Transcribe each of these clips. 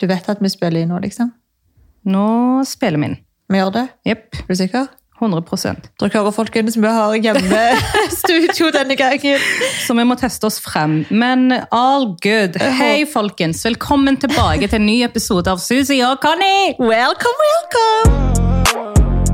Du vet at vi spiller inn nå, liksom? Nå spiller vi inn. Vi gjør det? Jepp. Er du sikker? 100 Dere hører folkens, vi har hjemmestudio denne gangen. Så vi må teste oss frem. Men all good. Hei, folkens. Velkommen tilbake til en ny episode av Susie og Connie. Welcome, welcome!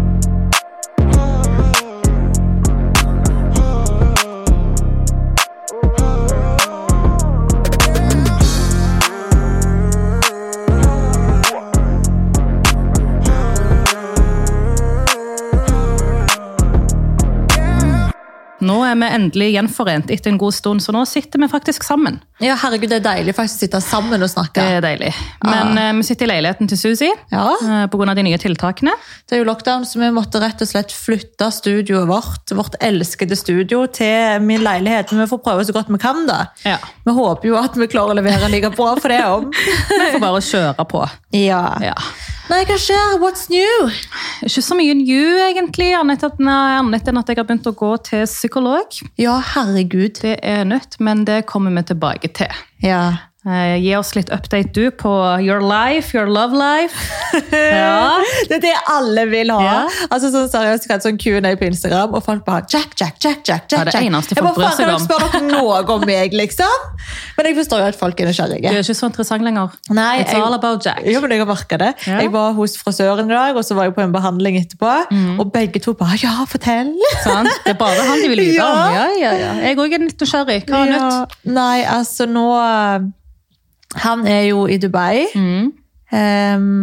Nå er vi endelig gjenforent etter en god stund, så nå sitter vi faktisk sammen. Ja, herregud, det er deilig faktisk å sitte sammen og Det snakke. er deilig. Men eh, vi sitter i leiligheten til Susi Ah. Ja. eh, på grunn av de nye tiltakene. Det er jo lockdown, så vi måtte rett og slett flytte studioet vårt, vårt elskede studio, til min leilighet. Men vi får prøve så godt vi kan, da. Ja. Vi håper jo at vi klarer å levere like bra for det om. Vi får bare kjøre på. Ja. Ja. Nei, hva skjer? What's new? Ikke så mye new, egentlig, annet at- nei, annet enn at jeg har begynt å gå til psykolog. Ja, herregud. Det er nytt, men det kommer vi tilbake til. Ja. Eh, gi oss litt update, du, på your life, your love life. Ja. Det er det alle vil ha. Ja. Altså sånn seriøst, Jeg hadde sånn Q&A på Instagram, og folk bare Jack, Jack, Jack, Jack, Jack, Ja, det Jack. eneste Jeg folk bare, bryr "Faen, seg Kan dere spørre dere noe om meg, liksom? Men jeg forstår jo at folk er Du nysgjerrige. er ikke så interessant lenger. Nei, It's jeg- all about Jack. Jo, men jeg har merket det. Ja. Jeg var hos frisøren i dag, og så var jeg på en behandling etterpå. Mm. Og begge to bare Ja, fortell! Sant? Det er bare han de vil vite om. Ja. Ja, ja, ja. Jeg òg er litt nysgjerrig. Hva er Ja. nytt? Nei, altså nå eh, Han er jo i Dubai. Mm. Ehm,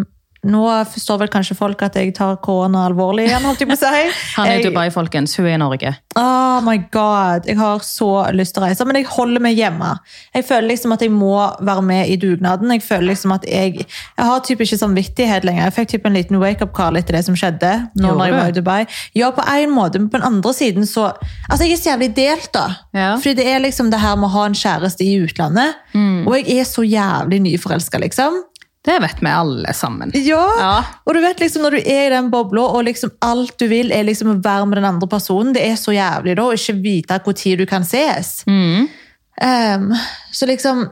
nå forstår vel kanskje folk at jeg tar korona alvorlig igjen, holdt jeg på å si. Han er i Jeg- Dubai, folkens. Hun er i Norge. Oh my god, jeg har så lyst til å reise, men jeg holder meg hjemme. Jeg føler liksom at jeg må være med i dugnaden. Jeg føler liksom at jeg, jeg har typ ikke samvittighet lenger. Jeg fikk typ en liten wake-up-call etter det som skjedde. Nå Gjorde når jeg var du? i Dubai. Ja, på en måte, men på den andre siden så Altså, jeg er så jævlig delt, da. Ja. Fordi det er liksom det her med å ha en kjæreste i utlandet. Mm. Og jeg er så jævlig nyforelska, liksom. Det vet vi alle sammen. Ja. Ja. Og du vet liksom når du er i den bobla, og liksom alt du vil er liksom å være med den andre personen, det er så jævlig da, å ikke vite hvor tid du kan ses. Mm. Ehm, så liksom,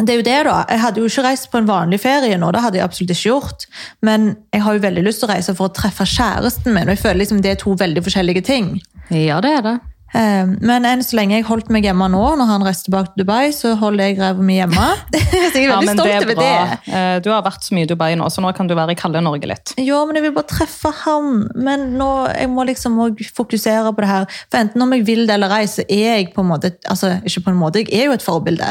det er jo det da. Jeg hadde jo ikke reist på en vanlig ferie nå, det hadde jeg absolutt ikke gjort. Men jeg har jo veldig lyst til å reise for å treffe kjæresten min, og jeg føler liksom det er to veldig forskjellige ting. Ja, det er det. Ehm, Men enn så lenge jeg holdt meg hjemme nå, når han reiste tilbake til Dubai, så holder jeg revet meg hjemme. så jeg er veldig Ja, men stolt det er over bra. det. Eh, Du har vært så mye i Dubai nå, så nå kan du være i kalde Norge litt. Ja, men jeg vil bare treffe han. Men nå, jeg må liksom også fokusere på det her. For enten om jeg vil det eller ei, så er jeg på en måte altså ikke på en måte, jeg er jo et forbilde.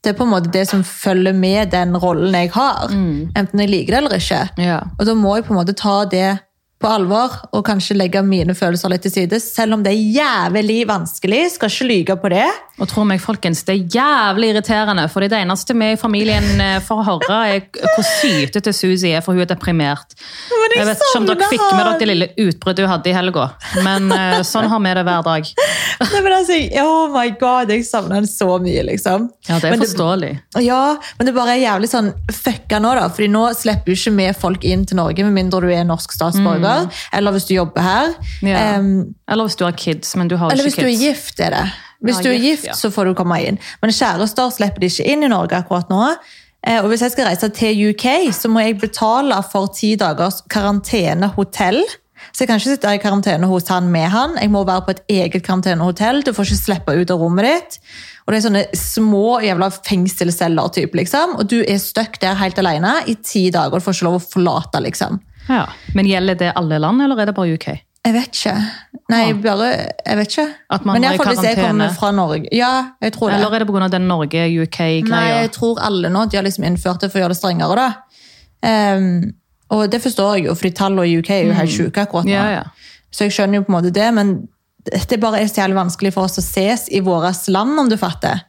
Det er på en måte det som følger med den rollen jeg har. Enten jeg liker det eller ikke. Mm. Ja. Og da må jeg på en måte ta det på alvor og kanskje legge mine følelser litt til side. Selv om det er jævlig vanskelig. Skal ikke lyge på det. Og tro meg, folkens, det er jævlig irriterende, for det eneste vi i familien eh, får høre, er hvor sytete Susi er, for hun er deprimert. Men jeg Jeg vet ikke om dere savner fikk med han. dere det lille utbruddet hun hadde i helga, men eh, sånn har vi det hver dag. Nei, men altså, jeg- oh my god, jeg savner han så mye, liksom. Ja, det Men er forståelig. Ja, men det bare er jævlig sånn fucka nå, da. Fordi nå slipper jo ikke vi folk inn til Norge, med mindre du er norsk statsborger. Eller hvis du jobber her. Ja. Em, Eller hvis du har kids, men du har eller ikke hvis du er kids. gift, er det. Hvis Ja, du er gift, gift, ja. så får du komme inn. Men kjærester slipper de ikke inn i Norge akkurat nå. Eh, Og hvis jeg skal reise til UK, så må jeg betale for ti dagers karantenehotell. Så jeg kan ikke sitte i karantene hos han med han. Jeg må være på et eget karantenehotell. Du får ikke slippe ut av rommet ditt. Og det er sånne små jævla fengselsceller, typ, liksom. Og du er støkk der helt alene i ti dager. Du får ikke lov å forlate, liksom. Ja. Men gjelder det alle land, eller er det bare UK? Jeg vet ikke. Nei, bare Jeg vet ikke. Ah. At man Men var i iallfall hvis jeg karantene. kommer fra Norge. Ja, jeg tror det. Eller er det pga. den Nei, Norge-UK-greia? jeg tror alle nå de har liksom innført det for å gjøre det strengere, da. Ehm, og det forstår jeg jo, fordi tallene i UK er jo helt sjuke akkurat nå. Mm. Ja, ja. Så jeg skjønner jo på en måte det, men det bare er så jævlig vanskelig for oss å ses i vårt land, om du fatter.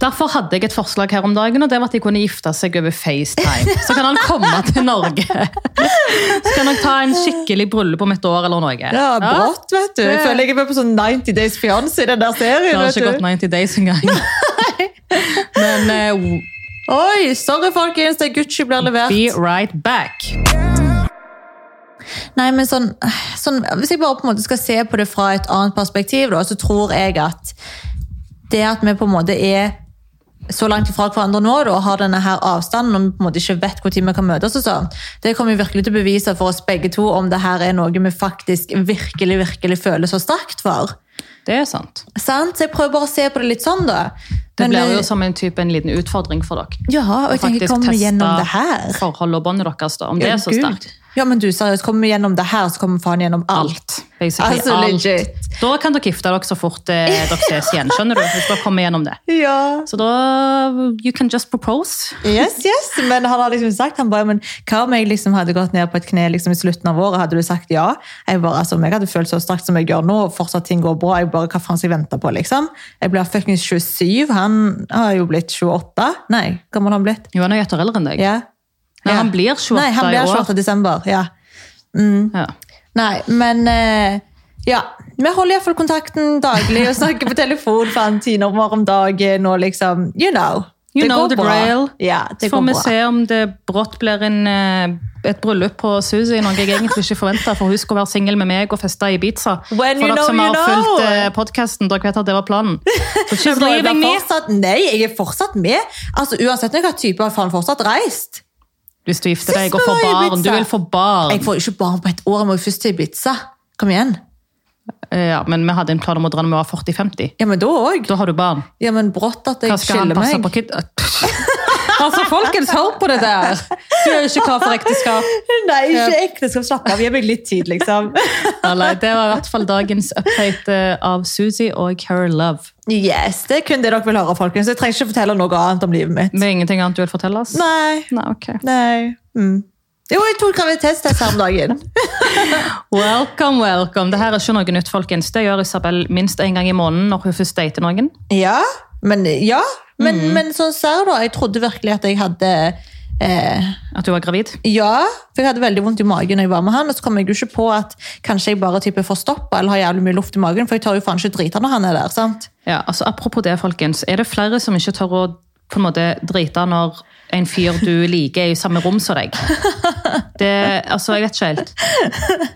Derfor hadde jeg et forslag her om dagen, og det var at de kunne gifte seg over FaceTime. Så kan han komme til Norge. Så kan han ta en skikkelig bryllup om et år eller noe. Ja, brått, vet du. Jeg Ah, Det- føler jeg er med på sånn 90 Days Fiancé i den der Det serien, har ikke vet gått du. 90 days engang. Men eh, Oi, sorry folkens, det er Gucci blir levert. be right back. Nei, men sånn, sånn, Hvis jeg bare på en måte skal se på det fra et annet perspektiv, da, så tror jeg at det at vi på en måte er så langt ifra hverandre nå da, og har denne her avstanden og vi på en måte ikke vet når vi kan møtes. og sånn, Det kommer jo virkelig til å bevise for oss begge to om det her er noe vi faktisk virkelig virkelig føler så sterkt for. Det er sant. Sant? Så jeg prøver bare å se på det litt sånn, da. Det Men, blir jo eh, som en type en liten utfordring for dere. Ja, og jeg tenker, Faktisk kom teste gjennom det her. Forholdet og båndet deres, da. Om det er så Gud. sterkt. Ja, men du, seriøst, kommer vi gjennom det her, så kommer vi faen gjennom alt. Alt. Basically Altså, alt. legit. Da kan dere gifte dere så fort eh, dere ses igjen, skjønner du? Hvis dere kommer gjennom det. Ja. Så da You can just propose. Yes, yes. Men han har liksom sagt, han bare, men hva om jeg liksom hadde gått ned på et kne liksom i slutten av året, hadde du sagt ja? Jeg bare, altså, om jeg hadde følt så strakt som jeg gjør nå, og fortsatt ting går bra, jeg bare, hva faen skal jeg vente på, liksom? Jeg blir fucking 27, han har jo blitt 28. Nei, hvor gammel har han blitt? Jo, han er jo ett år eldre enn deg. Ja. Nei, Ja. han blir 28 Nei, han blir i år. 28 desember, ja. Ja. Nei, men eh, ja. Vi holder iallfall kontakten daglig og snakker på telefon faen, ti nummer om dagen. og liksom, you know. You know går the bra. drill. Ja, Så det får går vi bra. se om det brått blir en, eh, et bryllup på Suzy, noe jeg egentlig ikke forventa, for hun skulle være singel med meg og feste i Ibiza. When for you dere know, som you har know. fulgt eh, podcasten, dere vet at det var planen. So she's Så jeg blir leaving me. fortsatt, nei, jeg er fortsatt med. Altså, Uansett hvilken type, har faen fortsatt reist. Hvis du gifter deg Sist og får vi var i barn. Du Ibiza. vil få barn. Jeg får jo ikke barn på et år, jeg må jo først til Ibiza. Kom igjen. Eh, Ja, men vi hadde en plan om å dra når vi var 40-50. Ja, men da òg. Da har du barn. Ja, men brått at jeg Hva skal han skiller passe meg. på kid... altså, folkens, hør på det der! Du er jo ikke klar for ekteskap. Nei, ikke ekteskap. Slapp av, gi meg litt tid, liksom. Eller, det var i hvert fall dagens update eh, av Suzy og Her Love. Yes, Det er kun det dere vil høre, folkens. Jeg trenger ikke fortelle noe annet om livet mitt. Det er ingenting annet du vil fortelle oss? Nei. Nei, ok. Nei. Mm. Jo, jeg tok graviditetstest her om dagen. Welcome, welcome. Dette er ikke noe nytt, folkens. Det gjør Isabel minst en gang i måneden når hun først dater noen. ja, men, Mm. ja. Men, men sånn ser du, jeg trodde virkelig at jeg hadde eh, At hun var gravid. Ja, for jeg hadde veldig vondt i magen når jeg var med han, og så kom jeg jo ikke på at kanskje jeg bare type forstoppa eller har jævlig mye luft i magen, for jeg tør jo faen ikke drite når han er der. sant? Ja, altså Apropos det, folkens. Er det flere som ikke tør å på en måte drite når en fyr du liker, er i samme rom som deg? Det, altså, Jeg vet ikke helt.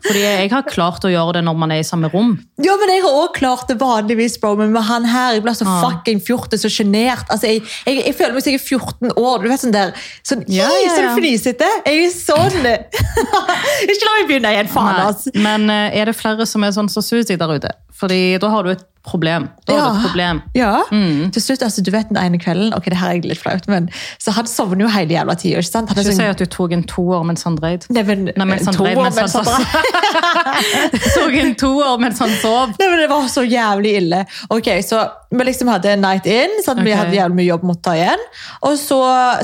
Fordi jeg har klart å gjøre det når man er i samme rom. Ja, men jeg har òg klart det vanligvis, bro, men med han her jeg ble så fucking 14, så sjenert. Altså, jeg, jeg, jeg føler meg som jeg er 14 år. Du vet sånn der sånn, Ja, ja, «Hei, så ja. du fnisete! Jeg er sånn! ikke la meg begynne igjen, faen, Nei, altså! Men eh, er det flere som er sånn som Suzy der ute? Fordi da har du et problem. Da har du et problem. Ja. Mm. Til slutt, altså, du vet den ene kvelden Ok, det her er egentlig litt flaut, men så han sovner jo hele jævla tida. Ikke sant? Han er Ikke si sånn, at du tok en toer mens han dreit. nei, men, Nei, mens han to drev, år, mens han drev. tok en toer mens han sov. Nei, men Det var så jævlig ille. Ok, så Vi liksom hadde en night in, sant? vi Ok. hadde jævlig mye jobb mot å ta igjen. Og så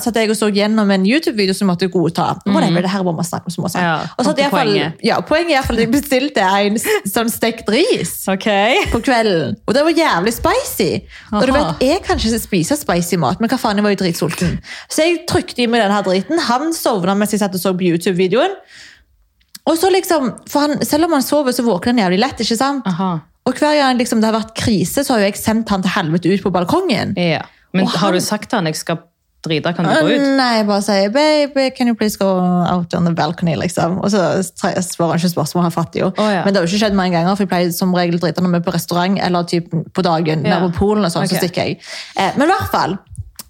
satt jeg og så gjennom en YouTube-video som jeg måtte godta. Whatever, det her var man snakke om småsak. Mm. Ja, og så kom hadde til jeg i hvert fall- poenget. Ja, poenget er i hvert fall at jeg bestilte en s- sånn stekt ris Ok. på kvelden. Og det var jævlig spicy. Og du Aha. vet, Jeg kan ikke spise spicy mat, men hva faen, jeg var jo dritsulten. Så jeg trykte i meg denne her driten. Han sovna mens jeg satt og så på YouTube-videoen. Og så liksom, for han, Selv om han sover, så våkner han jævlig lett. ikke sant? Aha. Og hver gang liksom, det har vært krise, så har jo jeg sendt han til helvete ut på balkongen. Ja. Men Og han- har du sagt til han jeg skal drite, kan du Nei, gå ut? jeg bare sier 'baby, can you please go out on the balcony', liksom. Og så tre- svarer han ikke spørsmål, han fatter jo. Å, ja. Men det har jo ikke skjedd mange ganger, for jeg pleier som regel å drite når vi er på restaurant eller typ på dagen, når Ja. vi er på Polen og sånn, Ok. så stikker jeg. Eh, men i hvert fall.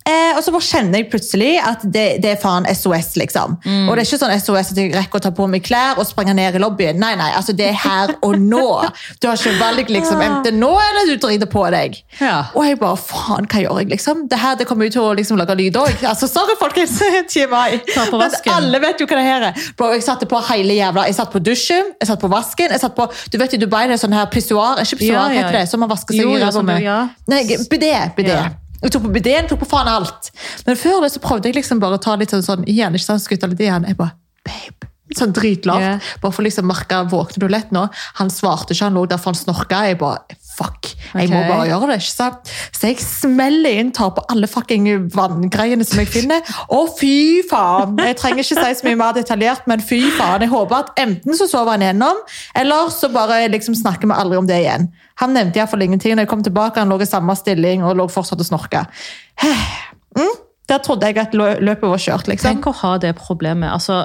Eh, og så bare kjenner jeg plutselig at det, det er faen SOS, liksom. Mm. Og det er ikke sånn SOS at jeg rekker å ta på meg klær og springe ned i lobbyen. Nei, nei, altså det er her og nå. Du har ikke valg, liksom. Ah. Enten nå eller du driter på deg. Ja. Og jeg bare, faen, hva gjør jeg liksom? Det her det kommer jo til å liksom, lage lyd også. Altså, sorry folkens, TMI. Ta på Men vasken. alle vet jo hva det her er. Bro, jeg satte på hele jævla, jeg satt på dusjen, jeg satt på vasken, jeg satt på, du vet i Dubai, det er sånn her pissoar, er ikke pissoar, Ja, ja, heter det, som man vasker seg Jo, i jo, ræva sånn med. du- ja. Nei, bidet, bidet. Ja. Jeg tok på bidéen, tok på faen alt. Men før det så prøvde jeg liksom bare å ta litt sånn, sånn igjen, ikke sant, skutta litt igjen. Jeg bare, babe. Sånn dritlavt. Ja. Bare for å liksom merke, våkner du lett nå? Han svarte ikke, han lå der for han snorka. Jeg bare, fuck. Jeg må Ok. bare gjøre det, ikke sant? Så jeg smeller inn, tar på alle fucking vanngreiene som jeg finner. Å, fy faen! Jeg trenger ikke si så mye mer detaljert, men fy faen. Jeg håper at enten så sover han gjennom, eller så bare liksom snakker vi aldri om det igjen. Han nevnte iallfall ingenting. Når jeg kom tilbake, han lå i samme stilling og lå fortsatt og snorka. Mm, der trodde jeg at lø- løpet var kjørt, liksom. Tenk å ha det problemet. Altså,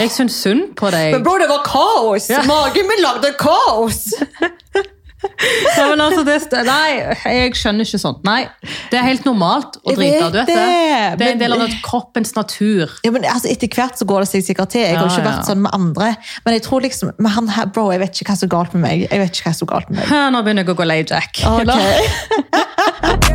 jeg syns synd på deg. Men bro, det var kaos! Magen min lagde kaos! Nei, men altså, det, st- nei, jeg skjønner ikke sånt. Nei, det er helt normalt å Jeg drite. vet Du vet det. det, det er men- en del av det- kroppens natur. Ja, men altså, Etter hvert så går det seg sikkert til. Jeg har jo Ja, ikke ja. vært sånn med andre. Men jeg tror liksom, men han her, bro, jeg vet ikke hva som er galt med meg. Jeg vet ikke hva som er galt med meg. Hæ, Nå begynner jeg å gå lei Jack. Eller? Ok.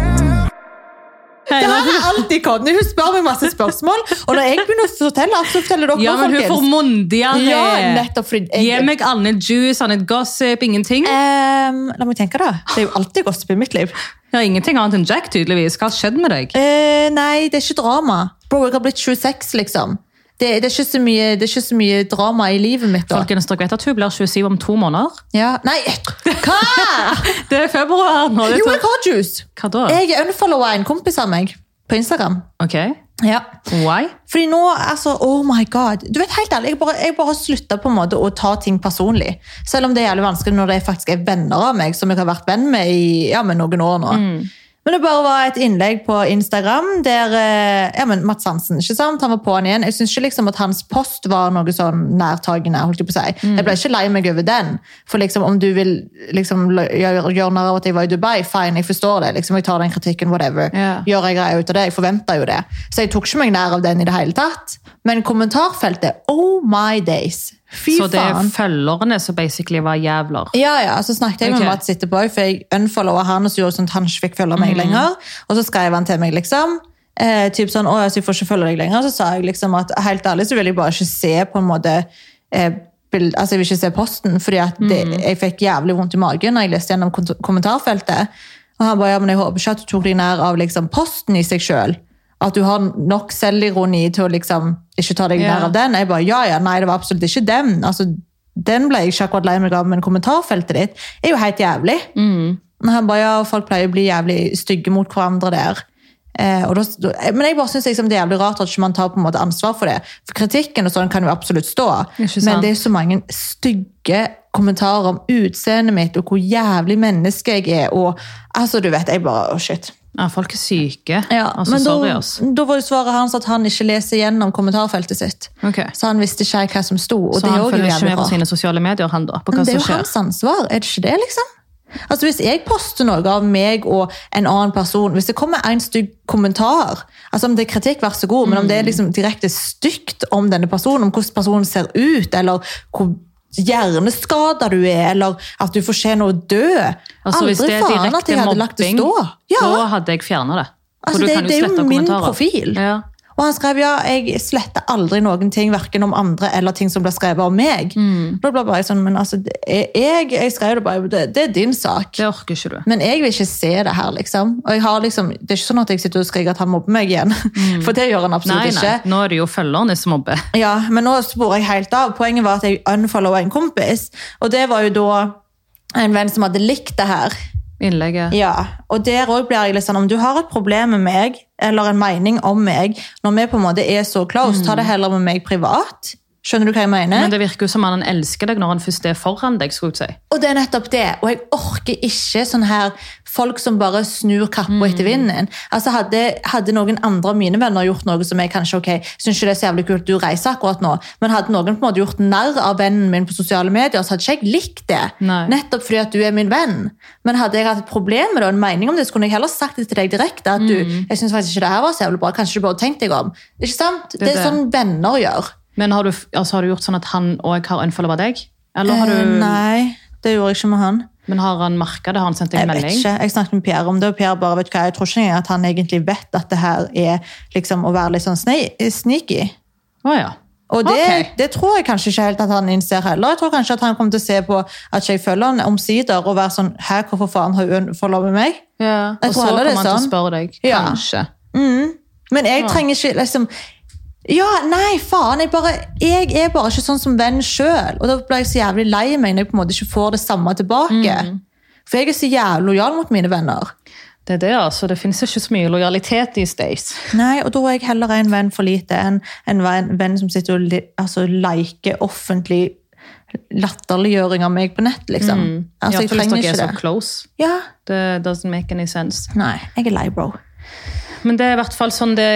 Nei, Det nå- her er alltid Conny. Hun spør meg masse spørsmål. Og når jeg begynner å fortelle alt, så forteller dere ja, men hun får mondiare. Ja, nettopp fordi jeg- Gi meg annet juice, annet gossip, ingenting. Ehm, la meg tenke, da. Det er jo alltid gossip i mitt liv. Ja, ingenting annet enn Jack, tydeligvis. Hva har skjedd med deg? Eh, nei, det er ikke drama. Bro, jeg har blitt 26, liksom. Det, det, er ikke så mye, det er ikke så mye drama i livet mitt da. Folkens, dere vet at hun blir 27 om to måneder? Ja. Nei, hva?! Det er februar nå. Det Jo, eh, jeg er to... har juice! Hva da? Jeg unfollowa en kompis av meg på Instagram. Ok, Ja. why? Fordi nå, altså, oh my god. Du vet helt ærlig, Jeg bare, jeg bare slutta på en måte å ta ting personlig. Selv om det er jævlig vanskelig når det faktisk er venner av meg som jeg har vært venn med i ja, men noen år nå. Men det bare var et innlegg på Instagram der eh, ja, men Mats Hansen ikke sant? Han var på han igjen. Jeg syns ikke liksom at hans post var noe sånn nærtagende. holdt Jeg på å si. Jeg ble ikke lei meg over den. For liksom, om du vil liksom, l- gjøre gjøre narr av at jeg var i Dubai, fine, jeg forstår det. liksom, Jeg tar den kritikken, whatever. Ja. Gjør jeg greier ut av det? Jeg forventa jo det. Så jeg tok ikke meg nær av den i det hele tatt. Men kommentarfeltet, oh my days! Fy Så det er faen. følgerne som basically var jævler. Ja, ja, så snakket jeg med Ok. Mats etterpå, for jeg unfollowa han, og så gjorde jeg sånn at han ikke fikk følge Mhm. meg lenger. Og så skrev han til meg, liksom. Eh, typ sånn, å, altså, jeg får ikke følge deg lenger. Så sa jeg liksom at helt ærlig så vil jeg bare ikke se på en måte eh, bild, Altså, jeg vil ikke se posten, fordi at det, Mhm. jeg fikk jævlig vondt i magen når jeg leste gjennom kont- kommentarfeltet. Og han bare, ja, men jeg håper ikke at du tok deg nær av liksom posten i seg sjøl. At du har nok selvironi til å liksom ikke ta deg Ja. nær av den. Jeg bare, ja, ja, nei, det var absolutt ikke den. Altså, den ble jeg ikke akkurat lei meg av, men kommentarfeltet ditt er jo helt jævlig. Mm. Og han bare, ja, folk pleier å bli jævlig stygge mot hverandre der. Eh, og da, da- men jeg bare synes liksom det er jævlig rart at ikke man tar på en måte ansvar for det. For kritikken og sånn kan jo absolutt stå. Ikke sant. Men det er så mange stygge kommentarer om utseendet mitt, og hvor jævlig menneske jeg er, og altså, du vet, jeg bare, oh shit. Ja, folk er syke. Ja, altså, men da, sorry, ass. da var jo svaret hans at han ikke leser gjennom kommentarfeltet sitt. Ok. Så han visste ikke hva som sto. Og Så det er han også følger ikke jævlig med på rart. sine sosiale medier, han da, på hva Men det er som jo skjer. hans ansvar, er det ikke det, liksom? Altså Hvis jeg poster noe av meg og en annen person, hvis det kommer en stygg kommentar altså Om det er kritikk, vær så god, men om Mm. det er liksom direkte stygt om denne personen, om hvordan personen ser ut, eller hvor hjerneskada du er, eller at du fortjener å dø Altså, hvis det Aldri er faen at direkte jeg hadde lagt det mobbing, stå. Ja. da hadde jeg fjernet det. For Altså, du det- kan det er jo slette min kommentarer. profil. Ja. Og han skrev ja, jeg sletter aldri noen ting, hverken om andre eller ting som blir skrevet om meg. Mm. Da ble jeg bare sånn, men altså, det er jeg, jeg skrev det bare, det, det er din sak. Det orker ikke du. Men jeg vil ikke se det her, liksom. Og jeg har liksom, det er ikke sånn at jeg sitter og skriker at han mobber meg igjen. For det gjør han absolutt Mm. Nei, nei. ikke. Nå er det jo følgerne som mobber. Ja, men nå sporer jeg helt av. Poenget var at jeg unfollowa en kompis, og det var jo da en venn som hadde likt det her. Innlegget. Ja, og der også blir jeg litt sånn, om du har et problem med meg, eller en mening om meg, når vi på en måte er så close, ta det heller med meg privat. Skjønner du hva jeg mener? Men det virker jo som han elsker deg når han først er foran deg. skulle jeg si. Og det er nettopp det. Og jeg orker ikke sånn her folk som bare snur kappa Mm. etter vinden. Altså hadde, hadde noen andre av mine venner gjort noe som jeg kanskje ok, syns ikke det er så jævlig kult, du reiser akkurat nå, men hadde noen på en måte gjort narr av vennen min på sosiale medier, så hadde ikke jeg likt det. Nei. Nettopp fordi at du er min venn. Men hadde jeg hatt et problem med det, og en mening om det, så kunne jeg heller sagt det til deg direkte. At du, Mm. jeg syns faktisk ikke det her var så jævlig bra, kanskje du bare tenkte deg om. Ikke sant? Det er er, det. sånn venner gjør. Men har du, altså, har du gjort sånn at han òg har unfollowa deg? Eller har Eh, du, Nei, det gjorde jeg ikke med han. men har han merka det? Har han sendt deg Jeg en vet melding? ikke. Jeg snakket med Per om det, og Per bare vet du hva, jeg tror ikke engang at han egentlig vet at det her er liksom å være litt sånn sne- sneaky. Å ja. Og det, Ok. det tror jeg kanskje ikke helt at han innser heller. Jeg tror kanskje at han kommer til å se på at ikke jeg følger han omsider og være sånn Hæ, hvorfor faen har hun forlovet meg? ja. Jeg Og tror så heller kommer det er han til å sånn. spørre deg. Ja. Kanskje. Men jeg trenger ikke liksom Ja, nei, faen! Jeg, bare, jeg er bare ikke sånn som venn sjøl. Og da blir jeg så jævlig lei meg når jeg på en måte ikke får det samme tilbake. Mm. For jeg er så jævlig lojal mot mine venner. Det er det, altså. Det fins ikke så mye lojalitet these days. Nei, og da er jeg heller en venn for lite enn en venn, venn som sitter og li, altså, liker offentlig latterliggjøring av meg på nett, liksom. Altså, jeg Iallfall hvis trenger dere er ikke så det. close. Ja, Det doesn't make any sense. nei, jeg er lei, bro. Men det er i hvert fall sånn det,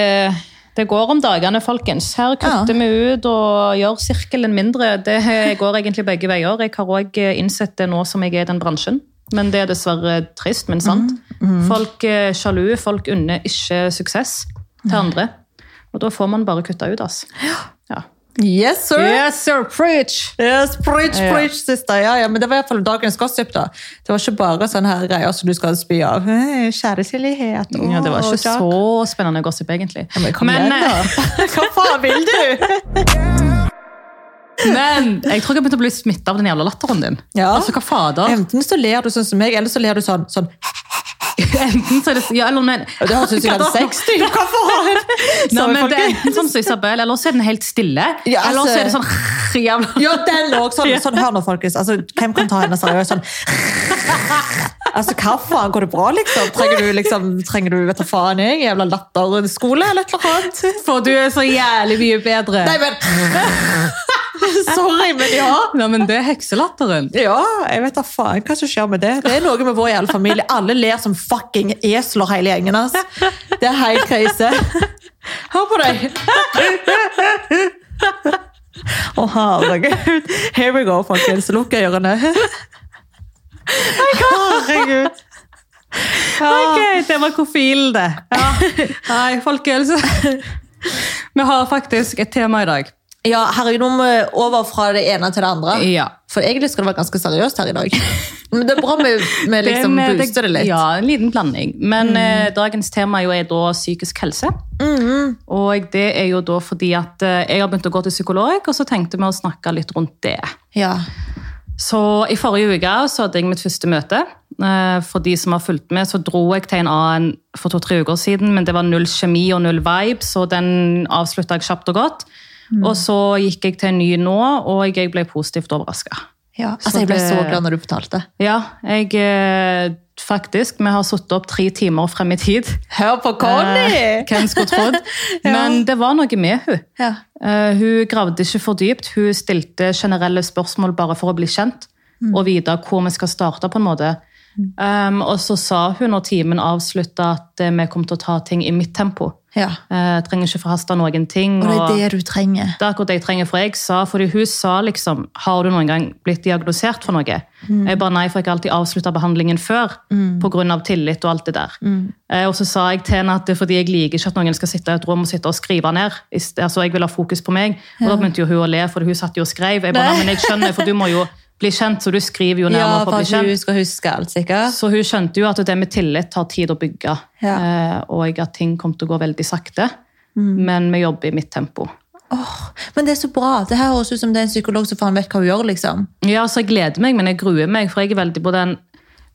det går om dagene, folkens. Her kutter vi ut og gjør eh, sirkelen mindre. Det går egentlig begge veier. Jeg har òg innsett det nå som jeg er i den bransjen. Men det er dessverre trist, men sant. Mm, Folk er sjalu, folk unner ikke suksess til andre. Og da får man bare kutta ut, ass. Ja. Yes, sir! Yes, sir, preach! Yes, preach, Ja. preach, sister. Ja, ja, men det var i hvert fall dagens gossip, da. Det var ikke bare sånne her greier som du skal spy av. Hey, Kjærlighet. Ja, det var Åh, ikke Jack. så spennende gossip, egentlig. Ja, men kom igjen, eh, da. Hva faen vil du? men jeg tror jeg begynte å bli smitta av den jævla latteren din. Ja. Altså, hva fader? Enten så ler du sånn som meg, eller så ler du sånn. sånn. Enten så er det Ja, eller nei. Og det høres ut som jeg hadde sex, du. Hva faen? Nei, Sorry, men det er folkens. enten sånn som Isabel, eller så er den helt stille. Ja, altså- Eller så er det sånn jævla Ja, den lå sånn, sånn. Hør nå, folkens. Altså, hvem kan ta henne seriøst? Sånn. Altså, hva faen? Går det bra, liksom? Trenger du, liksom, trenger du vet du faen jeg, jævla latterskole eller et eller annet? For du er så jævlig mye bedre. Nei, men Sorry, men ja. Nei, men det er hekselatteren. Ja, jeg vet da faen hva som skjer med det. Det er noe med vår jævla familie. Alle ler som fucking esler, hele gjengen. ass. Det er helt krise. Hør på deg! Å, herregud. Here we go, folkens. Lukk ørene. Herregud. Ok, det var kofilen, det. Nei, folkens. Vi har faktisk et tema i dag. Ja, herregud, nå må vi over fra det ene til det andre. Ja. For egentlig skal det være ganske seriøst her i dag. Men det er bra vi, vi liksom Det er med- booster det litt. Mm. Ja, en liten blanding. Men eh, dagens tema jo er da psykisk helse. Mm-hmm. Og det er jo da fordi at eh, jeg har begynt å gå til psykolog, og så tenkte vi å snakke litt rundt det. Ja. Så i forrige uke så hadde jeg mitt første møte. Eh, For de som har fulgt med, så dro jeg til en annen for to-tre uker siden, men det var null kjemi og null vibes, og den avslutta jeg kjapt og godt. Og så gikk jeg til en ny nå, og jeg ble positivt overraska. Ja, Så altså Jeg ble det- så glad når du fortalte. Ja, jeg eh, faktisk. Vi har sittet opp tre timer frem i tid. Hør på Eh, hvem skulle trodd? Ja. Men det var noe med hun. Ja. Eh, hun gravde ikke for dypt. Hun stilte generelle spørsmål bare for å bli kjent Mm. og vite hvor vi skal starte. på en måte. Um, og så sa hun når timen avslutta at eh, vi kom til å ta ting i mitt tempo. ja. Eh, trenger ikke forhaste noen ting. Og det og- er det du trenger. det er akkurat det jeg trenger, for jeg sa, fordi hun sa liksom, har du noen gang blitt diagnosert for noe? Jeg bare nei, for jeg har alltid avsluttet behandlingen før, på grunn av tillit og alt det der. Eh, og så sa jeg til henne at det er fordi jeg liker ikke at noen skal sitte i et rom og sitte og skrive ned. I st- Altså, jeg vil ha fokus på meg. Og da begynte jo hun å le, for hun satt jo og skrev. Jeg Nei. bare, nei, men jeg skjønner, for du må jo bli kjent, så du skriver jo nærmere for å bli kjent. skal huske alt, sikkert. Så hun skjønte jo at det med tillit tar tid å bygge, Ja. eh, og at ting kom til å gå veldig sakte. Men vi jobber i mitt tempo. Men det er så bra. Det her høres ut som det er en psykolog som faen vet hva hun gjør. liksom. Ja, så jeg gleder meg, men jeg gruer meg, for jeg er veldig på den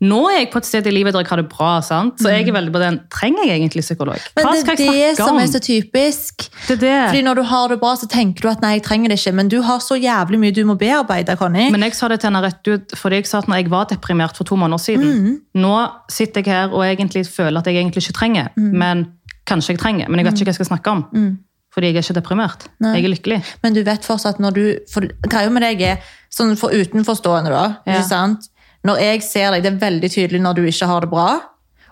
Nå er jeg på et sted i livet der jeg har det bra, sant? så jeg er veldig på den Trenger jeg egentlig psykolog? Men Hva det skal er det jeg snakke som om? er så typisk. Det er det. Fordi Når du har det bra, så tenker du at nei, jeg trenger det ikke. Men du har så jævlig mye du må bearbeide. Connie. Men jeg sa det til henne rett ut, fordi jeg sa at når jeg var deprimert for to måneder siden Mm. Nå sitter jeg her og egentlig føler at jeg egentlig ikke trenger, Mm. men kanskje jeg trenger. Men jeg vet ikke hva jeg skal snakke om. Fordi jeg er ikke deprimert. Jeg er lykkelig. Men du vet fortsatt når du for, Greia med deg er, sånn for utenforstående da, Ja. ikke sant? Når jeg ser deg, det er veldig tydelig når du ikke har det bra.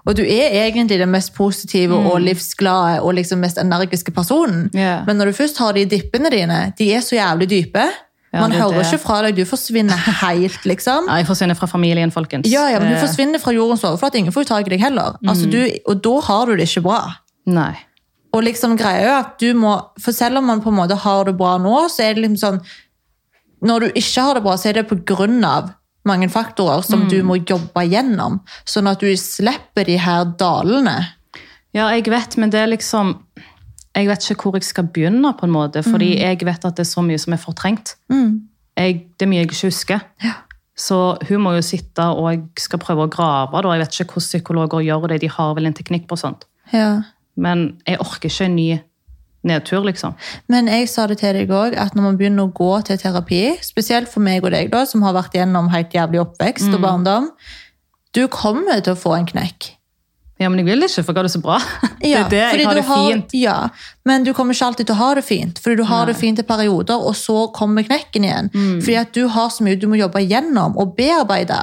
Og du er egentlig den mest positive og livsglade og liksom mest energiske personen. Mm. Ja. Men når du først har de dippene dine, de er så jævlig dype. Ja, Man det er hører det. ikke fra deg, du forsvinner helt, liksom. Ja, jeg forsvinner fra familien, folkens. Ja, ja, men Eh, du forsvinner fra jordens overflate. Ingen får jo tak i deg heller. Mm. Altså, du, og da har du det ikke bra. Nei. Og liksom greia er at du må, for selv om man på en måte har det bra nå, så er det liksom sånn Når du ikke har det bra, så er det på grunn av mange faktorer som du må jobbe gjennom. Sånn at du slipper de her dalene. Ja, jeg vet, men det er liksom Jeg vet ikke hvor jeg skal begynne, på en måte, fordi Mm. jeg vet at det er så mye som er fortrengt. Jeg, det er mye jeg ikke husker. Så hun må jo sitte og skal prøve å grave. Da. Jeg vet ikke hvordan psykologer gjør det. De har vel en teknikk på sånt. Ja. Men jeg orker ikke en ny nedtur, liksom. Men jeg sa det til deg òg, at når man begynner å gå til terapi, spesielt for meg og deg, da, som har vært gjennom helt jævlig oppvekst og barndom Du kommer til å få en knekk. Ja, men jeg vil ikke, for jeg har det så bra. Ja, det er fordi det. Jeg du har det fint. Ja, men du kommer ikke alltid til å ha det fint, fordi du har det fint i Mm. perioder, og så kommer knekken igjen. Fordi at du har så mye du må jobbe gjennom og bearbeide.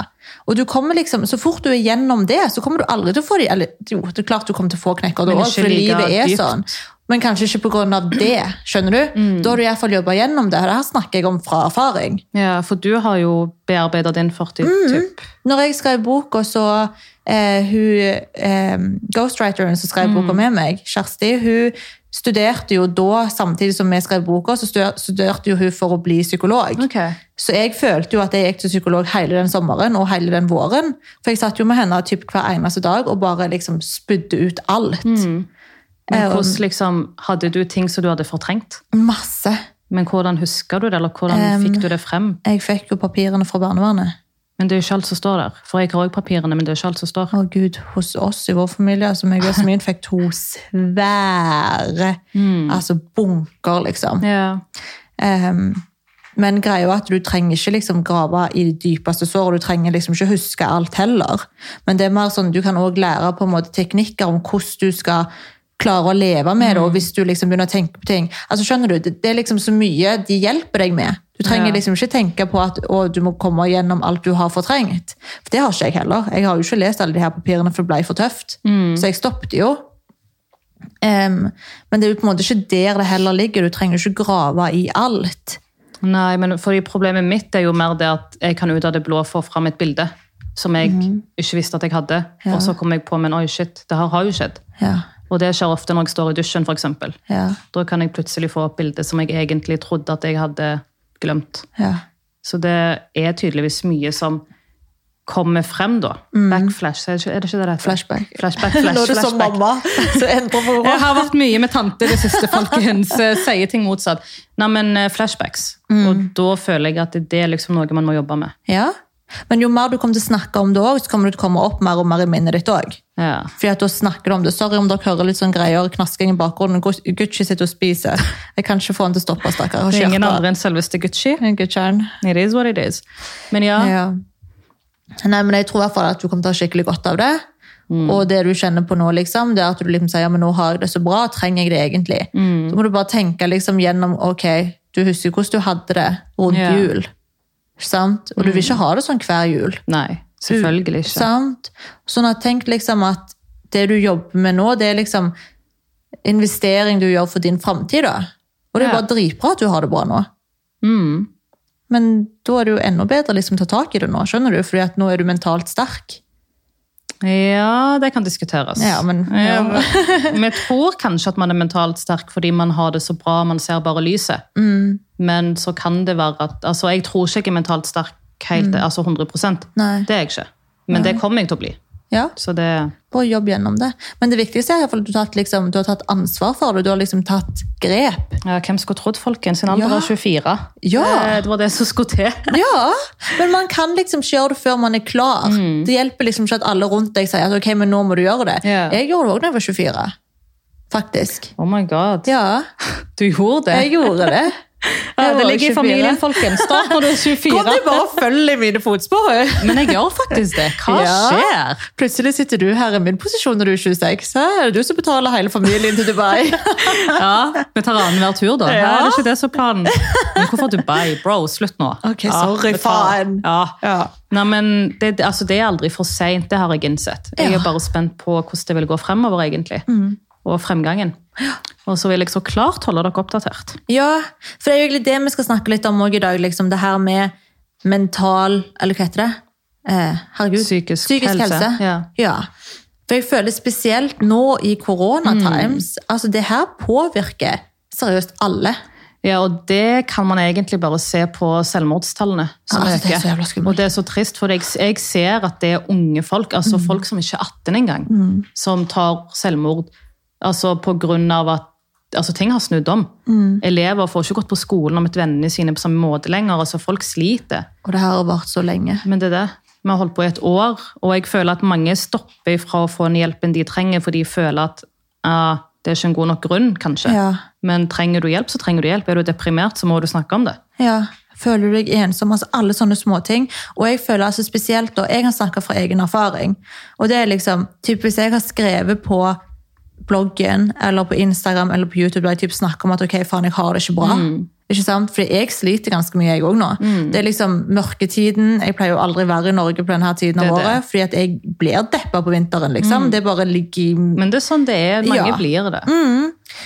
Og du kommer liksom, Så fort du er gjennom det, så kommer du aldri til å få de eller, Jo, det er klart du kommer til å få knekker da Men òg, ikke for like livet er dypt. sånn. Men kanskje ikke pga. det. skjønner du? Mm. Da har du iallfall jobba gjennom det. og Det her snakker jeg om fra erfaring. Ja, for du har jo bearbeidet din fortid, Mm, typ. Når jeg skrev boka, så eh, hun, eh, Ghostwriteren som skrev boka med meg, Kjersti, hun studerte jo da, samtidig som vi skrev boka, så studer- studerte jo hun for å bli psykolog. Ok. Så jeg følte jo at jeg gikk til psykolog hele den sommeren og hele den våren. For jeg satt jo med henne typ hver eneste dag og bare liksom spydde ut alt. Men hvordan liksom, hadde du ting som du hadde fortrengt? Masse. Men hvordan husker du det, eller hvordan fikk du det frem? Jeg fikk jo papirene fra barnevernet. Men det er jo ikke alt som står der. For jeg har også papirene, men det er ikke alt som står. Å Gud, hos oss i vår familie, altså meg og Jasmin fikk to svære altså bunker, liksom. Ja. Ehm, men greia er at du trenger ikke liksom grave i det dypeste såret, du trenger liksom ikke huske alt heller. Men det er mer sånn, du kan også lære på en måte teknikker om hvordan du skal klare å leve med det, og hvis du liksom begynner å tenke på ting. Altså skjønner du, det, det er liksom så mye de hjelper deg med. Du trenger Ja. liksom ikke tenke på at å, du må komme gjennom alt du har fortrengt. For det har ikke jeg heller. Jeg har jo ikke lest alle de her papirene, for det ble for tøft. Så jeg stoppet jo. Ehm, men det er jo på en måte ikke der det heller ligger. Du trenger ikke grave i alt. Nei, men fordi problemet mitt er jo mer det at jeg kan ut av det blå få fram et bilde som jeg ikke visste at jeg hadde. Og så kom jeg på, men oi, shit, det her har jo skjedd. Ja, Og det skjer ofte når jeg står i dusjen, for eksempel. ja, Da kan jeg plutselig få opp bilder som jeg egentlig trodde at jeg hadde glemt. ja. Så det er tydeligvis mye som kommer frem da. Backflash, er det ikke- er det ikke det det heter? Flashback. Flashback, flash, flashback. så endrer på Jeg har vært mye med tante det siste, folkens. eh, Sier ting motsatt. Nei, men eh, flashbacks. Og da føler jeg at det er liksom noe man må jobbe med. Ja. Men jo mer du kommer til å snakke om det òg, så kommer du til å komme opp mer og mer i minnet ditt òg. Ja. Fordi at da snakker du om det. Sorry om dere hører litt sånn greier, knasking i bakgrunnen. Gu- Gucci sitter og spiser. Jeg kan ikke få han til å stoppe, stakkar. Det er ingen andre enn selveste Gucci. Gucci'en. It is what it is. Men ja, Ja. Nei, men jeg tror i hvert fall at du kommer til å ha skikkelig godt av det. Mm. Og det du kjenner på nå, liksom, det er at du liksom sier ja, men nå har jeg det så bra, trenger jeg det egentlig? Mm. Så må du bare tenke liksom gjennom ok, du husker hvordan du hadde det rundt Ja. jul. Sant? Og du vil ikke ha det sånn hver jul. nei, selvfølgelig ikke. Sant? Sånn at tenk liksom at det du jobber med nå, det er liksom investering du gjør for din framtid. da. Og det er Ja. bare dritbra at du har det bra nå. Mm. Men da er det jo enda bedre liksom, å ta tak i det nå, skjønner du? Fordi at nå er du mentalt sterk. Ja, det kan diskuteres. Ja, men- Ja, men- Vi tror kanskje at man er mentalt sterk fordi man har det så bra, man ser bare lyset. Mm. Men så kan det være at altså, Jeg tror ikke jeg er mentalt sterk helt, altså 100 Nei. Det er jeg ikke. Men det kommer jeg til å bli. Ja, Så det bare jobb gjennom det. Men det viktigste er i hvert fall at du har, tatt, liksom, du har tatt ansvar for det. Du har liksom tatt grep. ja, Hvem skulle trodd, folkens? En alder Ja. av 24. Ja. Det, det var det som skulle til. Ja, men man kan liksom ikke gjøre det før man er klar. Mm. Det hjelper liksom ikke at alle rundt deg sier at ok, men nå må du gjøre det. Ja. Jeg gjorde det også da jeg var 24. Faktisk. Oh my god. Ja, Du gjorde det. jeg gjorde det. Ja, Jeg det var ligger i 24. familien, folkens. Start når du er 24. Kan du bare følge i mine fotspor? Men jeg gjør faktisk det. Hva Ja. skjer? Plutselig sitter du her i min posisjon når du er 26. Hæ? Er det du som betaler hele familien til Dubai? Ja, vi tar annenhver tur, da. Ja. Nei, det er ikke det som er planen. Men hvorfor Dubai? Bro, slutt nå. Ok, sorry, vi tar- faen. Ja. ja. Nei, men det, altså, det er aldri for seint, det har jeg innsett. Jeg Ja. er bare spent på hvordan det vil gå fremover, egentlig. Og fremgangen. Og så vil jeg så klart holde dere oppdatert. Ja, for det er jo egentlig det vi skal snakke litt om også i dag. Liksom det her med mental Eller hva heter det? Eh, herregud. Psykisk helse. helse. Ja. For jeg føler spesielt nå i koronatimes altså Det her påvirker seriøst alle. Ja, og det kan man egentlig bare se på selvmordstallene som Ja, altså, det er øker. så jævla skummelt. og det er så trist, for jeg, jeg ser at det er unge folk, altså Mm. folk som ikke er 18 engang, som tar selvmord altså på grunn av at altså, ting har snudd om. Mm. Elever får ikke gått på skolen og møtt vennene sine på samme måte lenger. altså Folk sliter. Og det her har vart så lenge. Men det er det. Vi har holdt på i et år, og jeg føler at mange stopper fra å få den hjelpen de trenger, for de føler at ah, det er ikke en god nok grunn, kanskje. Ja. Men trenger du hjelp, så trenger du hjelp. Er du deprimert, så må du snakke om det. Ja, føler du deg ensom? Altså alle sånne småting. Og jeg føler altså spesielt da, jeg har snakket fra egen erfaring. Og det er liksom, typ hvis jeg har skrevet på Mm. bloggen, eller på Instagram, eller på YouTube, der jeg typ snakker om at ok, faen, jeg har det ikke bra. Ikke sant? Fordi jeg sliter ganske mye, jeg òg nå. Det er liksom mørketiden. Jeg pleier jo aldri å være i Norge på denne her tiden av Det er det. Mm. året, fordi at jeg blir deppa på vinteren, liksom. Det bare ligger i Men det er sånn det er. Mange Ja. Mm. blir det.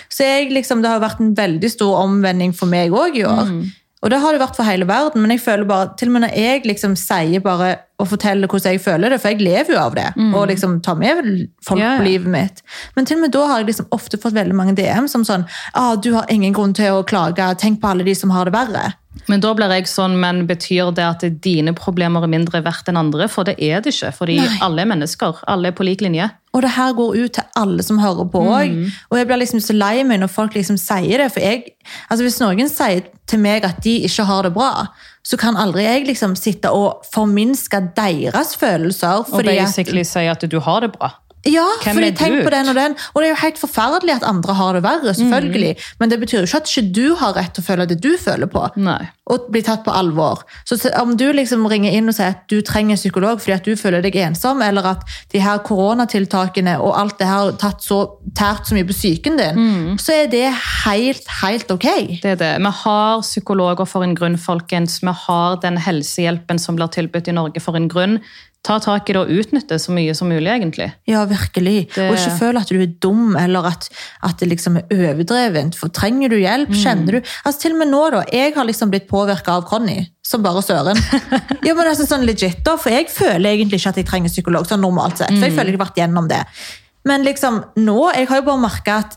Så jeg, liksom, det har vært en veldig stor omvending for meg òg i år. Mm. Og det har det vært for hele verden, men jeg føler bare, til og med når jeg liksom sier bare og forteller hvordan jeg føler det, for jeg lever jo av det, og liksom tar med folk Mm. Ja, ja. på livet mitt. Men til og med da har jeg liksom ofte fått veldig mange DM som sånn ah, 'Du har ingen grunn til å klage. Tenk på alle de som har det verre.' Men da blir jeg sånn, men betyr det at dine problemer er mindre verdt enn andre? For det er det ikke. Fordi Nei. alle er mennesker. Alle er på lik linje. Og det her går ut til alle som hører Mm. på òg. Og jeg blir liksom så lei meg når folk liksom sier det. For jeg, altså hvis noen sier til meg at de ikke har det bra, så kan aldri jeg liksom sitte og forminske deres følelser. Og Fordi at, basically si at du har det bra. ja, Hvem fordi er tenk du? Mm. på den og den. Og det er jo helt forferdelig at andre har det verre, selvfølgelig. Men det betyr jo ikke at ikke du har rett til å føle det du føler på Nei. og bli tatt på alvor. Så se- om du liksom ringer inn og sier at du trenger en psykolog fordi at du føler deg ensom, eller at de her koronatiltakene og alt det her har tatt så, tært så mye på psyken din, så er det helt, helt ok. Det er det. Vi har psykologer for en grunn, folkens. Vi har den helsehjelpen som blir tilbudt i Norge for en grunn. Ta tak i det og utnytte så mye som mulig, egentlig. Ja, virkelig. Det- Og ikke føle at du er dum, eller at, at det liksom er overdrevent. For trenger du Mm. hjelp? Kjenner du Altså Til og med nå, da. Jeg har liksom blitt påvirka av Conny. Som bare søren. Ja, men altså sånn legit da, For jeg føler egentlig ikke at jeg trenger psykolog, sånn normalt sett. For Mm. jeg føler jeg har vært gjennom det. Men liksom nå Jeg har jo bare merka at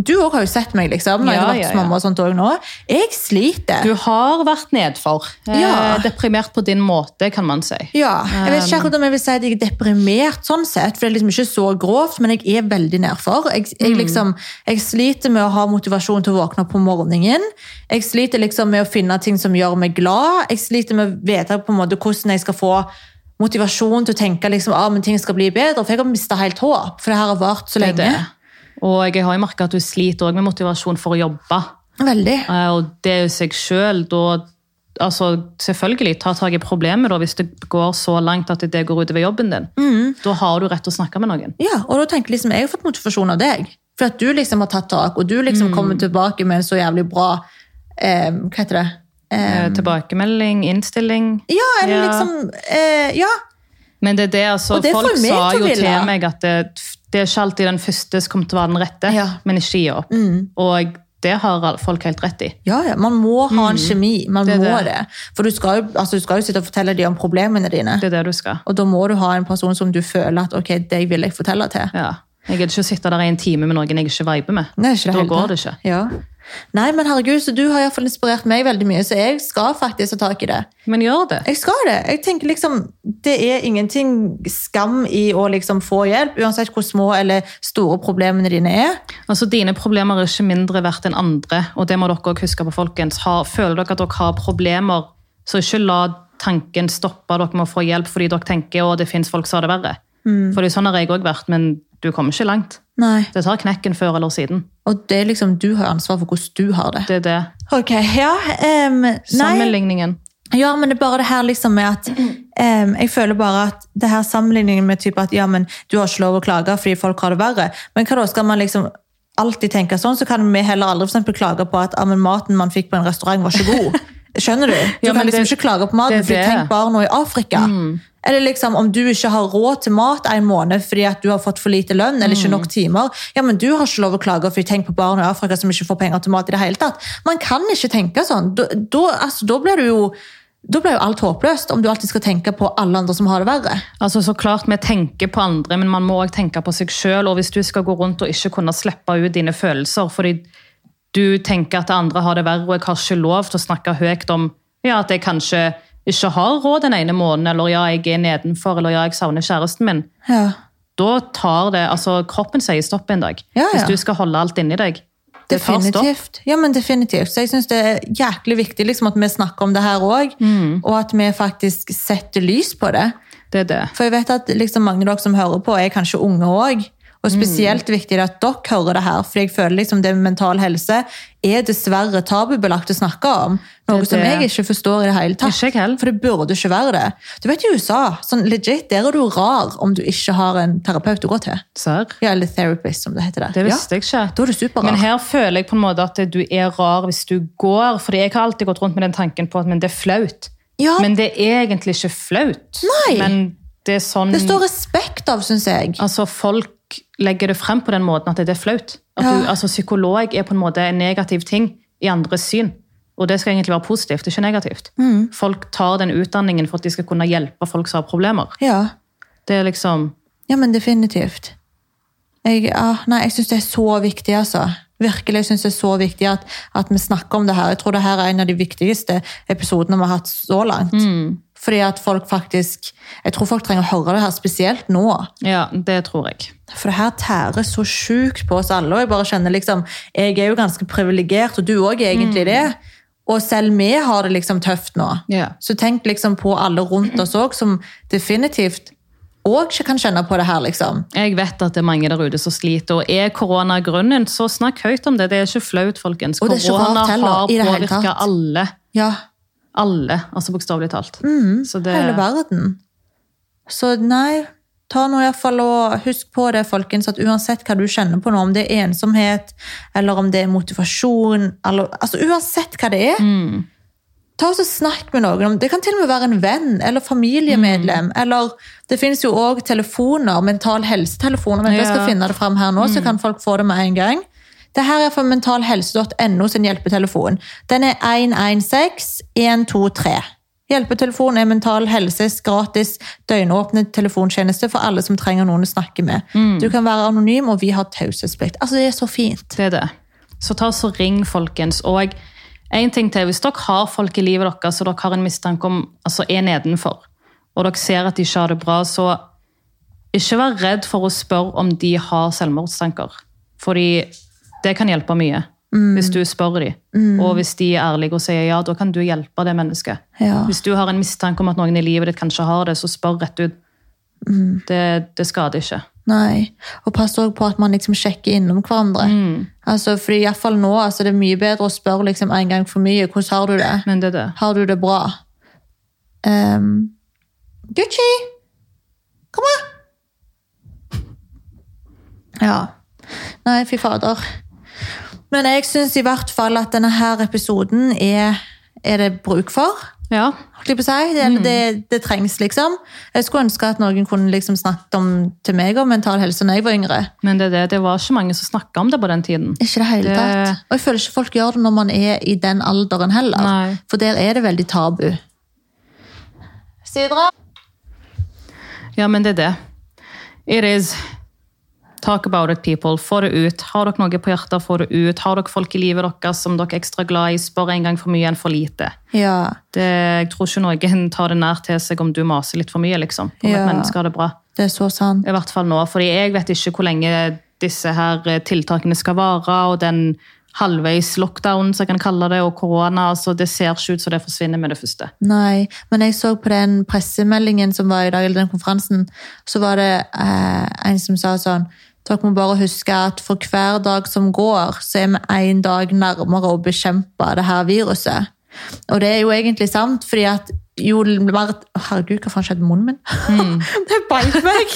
Du òg har jo sett meg, liksom. Når jeg Ja, har vært ja, hos mamma og sånt også nå. Jeg sliter. Du har vært nedfor. Eh, Ja. Deprimert på din måte, kan man si. Ja, jeg vet ikke Um, akkurat om jeg vil si at jeg er deprimert, sånn sett, for det er liksom ikke så grovt, men jeg er veldig nedfor. Jeg, Mm. jeg, liksom, jeg sliter med å ha motivasjon til å våkne opp på morgenen. Jeg sliter liksom med å finne ting som gjør meg glad. Jeg sliter med å vite på en måte hvordan jeg skal få motivasjon til å tenke liksom, ah, men ting skal bli bedre, for jeg har mista helt håp, for det her har vart så Det er lenge. det. Og jeg har jo merka at du sliter også med motivasjon for å jobbe. Veldig. Eh, Og det er jo seg sjøl, da Altså, selvfølgelig, ta tak i problemet da, hvis det går så langt at det går utover jobben din. Mm. Da har du rett til å snakke med noen. Ja, og da tenker jeg liksom, jeg har fått motivasjon av deg. For at du liksom har tatt tak, og du Mm. liksom kommer tilbake med en så jævlig bra eh, Hva heter det? Eh, Eh, Tilbakemelding, innstilling. Ja, eller Ja. liksom eh, Ja. Men det er det, altså, Og det får folk meg sa til å jo ville. til meg at det, det er ikke alltid den første som kommer til å være den rette, Ja. Mm. men ikke gi opp. Og det har al- folk helt rett i. ja, ja. Man må ha en kjemi. Man Mm. Det er må det. det. For du skal, jo, altså, du skal jo sitte og fortelle dem om problemene dine. Det er det du skal. Og da må du ha en person som du føler at ok, det vil jeg fortelle til. Ja. Jeg gidder ikke å sitte der i en time med noen jeg ikke viber med. Nei, ikke det da hele går tatt. det ikke. Ja. Nei, men herregud, så du har i hvert fall inspirert meg veldig mye, så jeg skal faktisk ta tak i det. Men gjør det. Jeg skal det. Jeg tenker liksom, Det er ingenting skam i å liksom få hjelp, uansett hvor små eller store problemene dine er. Altså, Dine problemer er ikke mindre verdt enn andre, og det må dere også huske på, folkens. Ha, føler dere at dere har problemer, så ikke la tanken stoppe dere med å få hjelp fordi dere tenker at det finnes folk som har det verre. Mm. Fordi sånn har jeg òg vært, men du kommer ikke langt. Nei. Det tar knekken før eller siden. Og det er liksom, du har ansvar for hvordan du har det. Det er det. Ok, ja. em, nei, Sammenligningen. Ja, men det er bare det her liksom med at em, Jeg føler bare at det her sammenligningen med typ at ja, men du har ikke lov å klage fordi folk har det verre. Men hva da, skal man liksom alltid tenke sånn, så kan vi heller aldri for eksempel klage på at ja, men maten man fikk på en restaurant var ikke god. Skjønner du? Du Ja, men kan liksom det- ikke klage på maten, det er fordi det. tenk barna i Afrika. Eller liksom om du ikke har råd til mat en måned fordi at du har fått for lite lønn eller ikke nok timer, ja, men du har ikke lov å klage fordi tenk på barna i Afrika som ikke får penger til mat i det hele tatt. Man kan ikke tenke sånn. Da, da, altså, da blir du jo da blir jo alt håpløst om du alltid skal tenke på alle andre som har det verre. Altså, så klart Vi tenker på andre, men man må òg tenke på seg sjøl. Og hvis du skal gå rundt og ikke kunne slippe ut dine følelser fordi du tenker at andre har det verre, og jeg har ikke lov til å snakke høyt om ja, at jeg kanskje ikke har råd den ene måneden, eller ja, jeg er nedenfor, eller ja, jeg savner kjæresten min. Ja. Da tar det, altså Kroppen sier stopp en dag. Ja, ja. Hvis du skal holde alt inni deg. Det tar stopp. Definitivt. Ja, men definitivt. Så jeg syns det er jæklig viktig liksom, at vi snakker om det her òg, og at vi faktisk setter lys på det. Det er det. For jeg vet at liksom mange av dere som hører på, er kanskje unge òg. Mm. Og spesielt viktig er det at dere hører det her, for jeg føler liksom det med mental helse er dessverre tabubelagt å snakke om. Noe Det er som det. jeg ikke forstår i det hele tatt. Ikke jeg heller. For det burde ikke være det. Du vet i USA, sånn legit, der er du rar om du ikke har en terapeut å gå til. Serr? Ja, eller therapist, som det heter der. Det visste jeg ikke. Ja, da er du superrar. Men her føler jeg på en måte at du er rar hvis du går. Fordi jeg har alltid gått rundt med den tanken på at men det er flaut. Ja. Men det er egentlig ikke flaut. Nei. Men det er sånn Det står respekt av, syns jeg. altså folk legger det frem på den måten at det er flaut. At du, Ja. altså, psykolog er på en måte en negativ ting i andres syn. Og det skal egentlig være positivt, ikke negativt. Mm. Folk tar den utdanningen for at de skal kunne hjelpe folk som har problemer. Ja. Det er liksom... Ja, men definitivt. Jeg, ja, nei, jeg syns det er så viktig, altså. Virkelig syns det er så viktig at, at vi snakker om det her. Jeg tror det her er en av de viktigste episodene vi har hatt så langt. Fordi at folk faktisk Jeg tror folk trenger å høre det her, spesielt nå. Ja, det tror jeg. For det her tærer så sjukt på oss alle. Og jeg bare kjenner liksom Jeg er jo ganske privilegert, og du òg er egentlig det. Og selv vi har det liksom tøft nå. Ja. Så tenk liksom på alle rundt oss òg, som definitivt òg ikke kan kjenne på det her, liksom. Jeg vet at det er mange der ute som sliter, og er korona grunnen, så snakk høyt om det. Det er ikke flaut, folkens. Og det er ikke Korona rart heller, har i det hele påvirket tatt. alle. Ja, Alle, altså bokstavelig talt. så det, Mm. hele verden. Så nei, ta nå iallfall og husk på det, folkens, at uansett hva du kjenner på nå, om det er ensomhet, eller om det er motivasjon, eller altså uansett hva det er, ta oss og snakk med noen om det. kan til og med være en venn eller familiemedlem, eller det finnes jo òg telefoner, mental helsetelefoner, men jeg skal Ja. finne det fram her nå, så kan folk få det med en gang. Det her er fra mentalhelse.no sin hjelpetelefon. Den er 116123. Hjelpetelefonen er Mental Helses gratis døgnåpne telefontjeneste for alle som trenger noen å snakke med. Du kan være anonym, og vi har taushetsplikt. Altså, det er så fint. det er det. Så ta oss og ring, folkens. Og en ting til, hvis dere har folk i livet deres, så dere har en mistanke om altså er nedenfor, og dere ser at de ikke har det bra, så ikke vær redd for å spørre om de har selvmordstanker. Fordi det kan hjelpe mye, hvis du spør dem. Og hvis de er ærlige og sier ja, da kan du hjelpe det mennesket. Ja. Hvis du har en mistanke om at noen i livet ditt kanskje har det, så spør rett ut. Det, det skader ikke. Nei. Og pass også på at man liksom sjekker innom hverandre. Altså, fordi i hvert fall nå altså, det er mye bedre å spørre liksom, en gang for mye. Hvordan har du det? Men det er det. Har du det bra? Ehm, Gucci! Kom her! Ja. Nei, fy fader. Men jeg syns i hvert fall at denne her episoden er, er det bruk for. Ja, holdt jeg på å si. Det, det, det trengs, liksom. Jeg skulle ønske at noen kunne liksom snakket om, til meg om mental helse når jeg var yngre. men det, er det, det var ikke mange som snakka om det på den tiden. Ikke det hele Det- tatt. Og jeg føler ikke folk gjør det når man er i den alderen heller. Nei. For der er det veldig tabu. Sidra? Ja, men det er det. It is. Talk about it, people. Få det ut. Har dere noe på hjertet, få det ut. Har dere folk i livet deres som dere er ekstra glad i, spør en gang for mye enn for lite. Ja. Det, jeg tror ikke noen tar det nær til seg om du maser litt for mye, liksom. Om Ja. et menneske har det bra. Det er så sant. I hvert fall nå, fordi jeg vet ikke hvor lenge disse her eh, tiltakene skal vare, og den halvveis lockdown, som jeg kan kalle det, og korona, så det ser ikke ut som det forsvinner med det første. Nei, men jeg så på den pressemeldingen som var i dag, eller den konferansen, så var det eh, en som sa sånn Dere må bare huske at for hver dag som går, så er vi én dag nærmere å bekjempe det her viruset. Og det er jo egentlig sant, fordi at jo mer Å, Herregud, hva faen skjedde med munnen min? det beit meg!